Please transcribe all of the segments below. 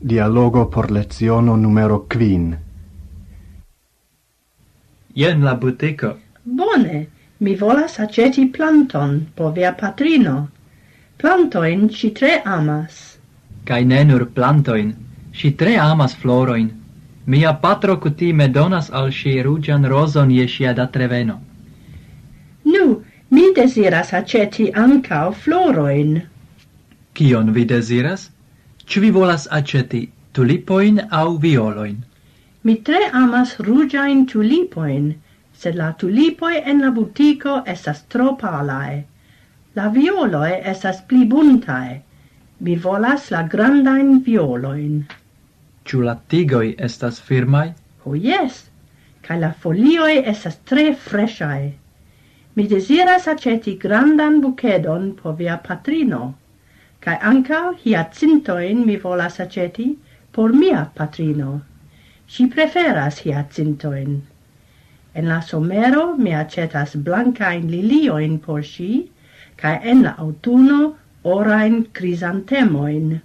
Dialogo por leciono numero quin. Jen la butiko. Bone, mi volas aceti planton por via patrino. Plantoin ci tre amas. Kaj ne nur plantojn. Ŝi tre amas florojn. Mia patro kutime donas al ŝi ruĝan rozon je ŝia datreveno. Nu, mi desiras aceti ancao floroin. Kion vi deziras? Ĉu vi volas aĉeti tulipojn aŭ violojn? Mi tre amas rugiain tulipoin, sed la tulipoi en la butico estas tro palae. La violoi estas pli buntae. Mi volas la grandain violoin. Ĉu la tigoj estas firmaj? Ho oh, yes, cae la folioi estas tre freshae. Mi desiras aceti grandan bucedon por via patrino, cae ancao hiacintoin mi volas aceti por mia patrino si preferas hiacintoin. En la somero mi acetas blancain lilioin por si, cae en la autuno orain crisantemoin.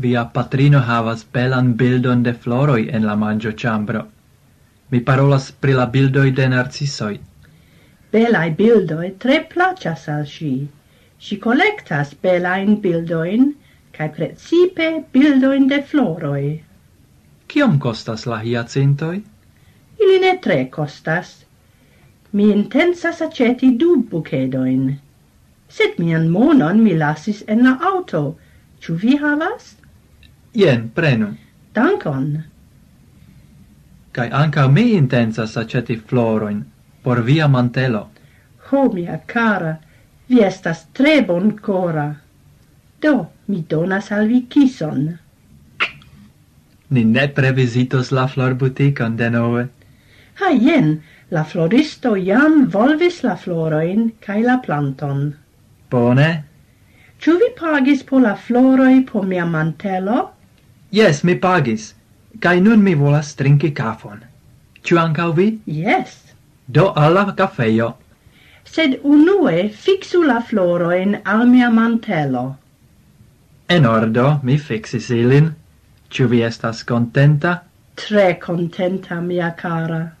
Via patrino havas belan bildon de floroi en la mangio chambro. Mi parolas pri la bildoi de narcisoi. Belai bildoi tre placas al si. Si collectas belain bildoin, cae precipe bildoin de floroi. Kiom costas la hiacintoi? Ili ne tre costas. Mi intensas aceti du bucedoin. Sed mian monon mi lasis en la auto. Ču vi havas? Jen, prenu. Dankon. Kaj anca mi intensas aceti floroin por via mantelo. Ho, mia cara, vi estas tre bon cora. Do, mi donas al vi kison ni ne previsitos la flor buticon de nove. Ha, jen, la floristo jam volvis la floroin cae la planton. Bone. Ču vi pagis po la floroi po mia mantelo? Yes, mi pagis. Cae nun mi volas trinki cafon. Ču ancau vi? Yes. Do alla cafeio. Sed unue fixu la floroin al mia mantelo. En ordo mi fixis ilin. Ĉu vi estas contenta? Tre contenta, mia cara.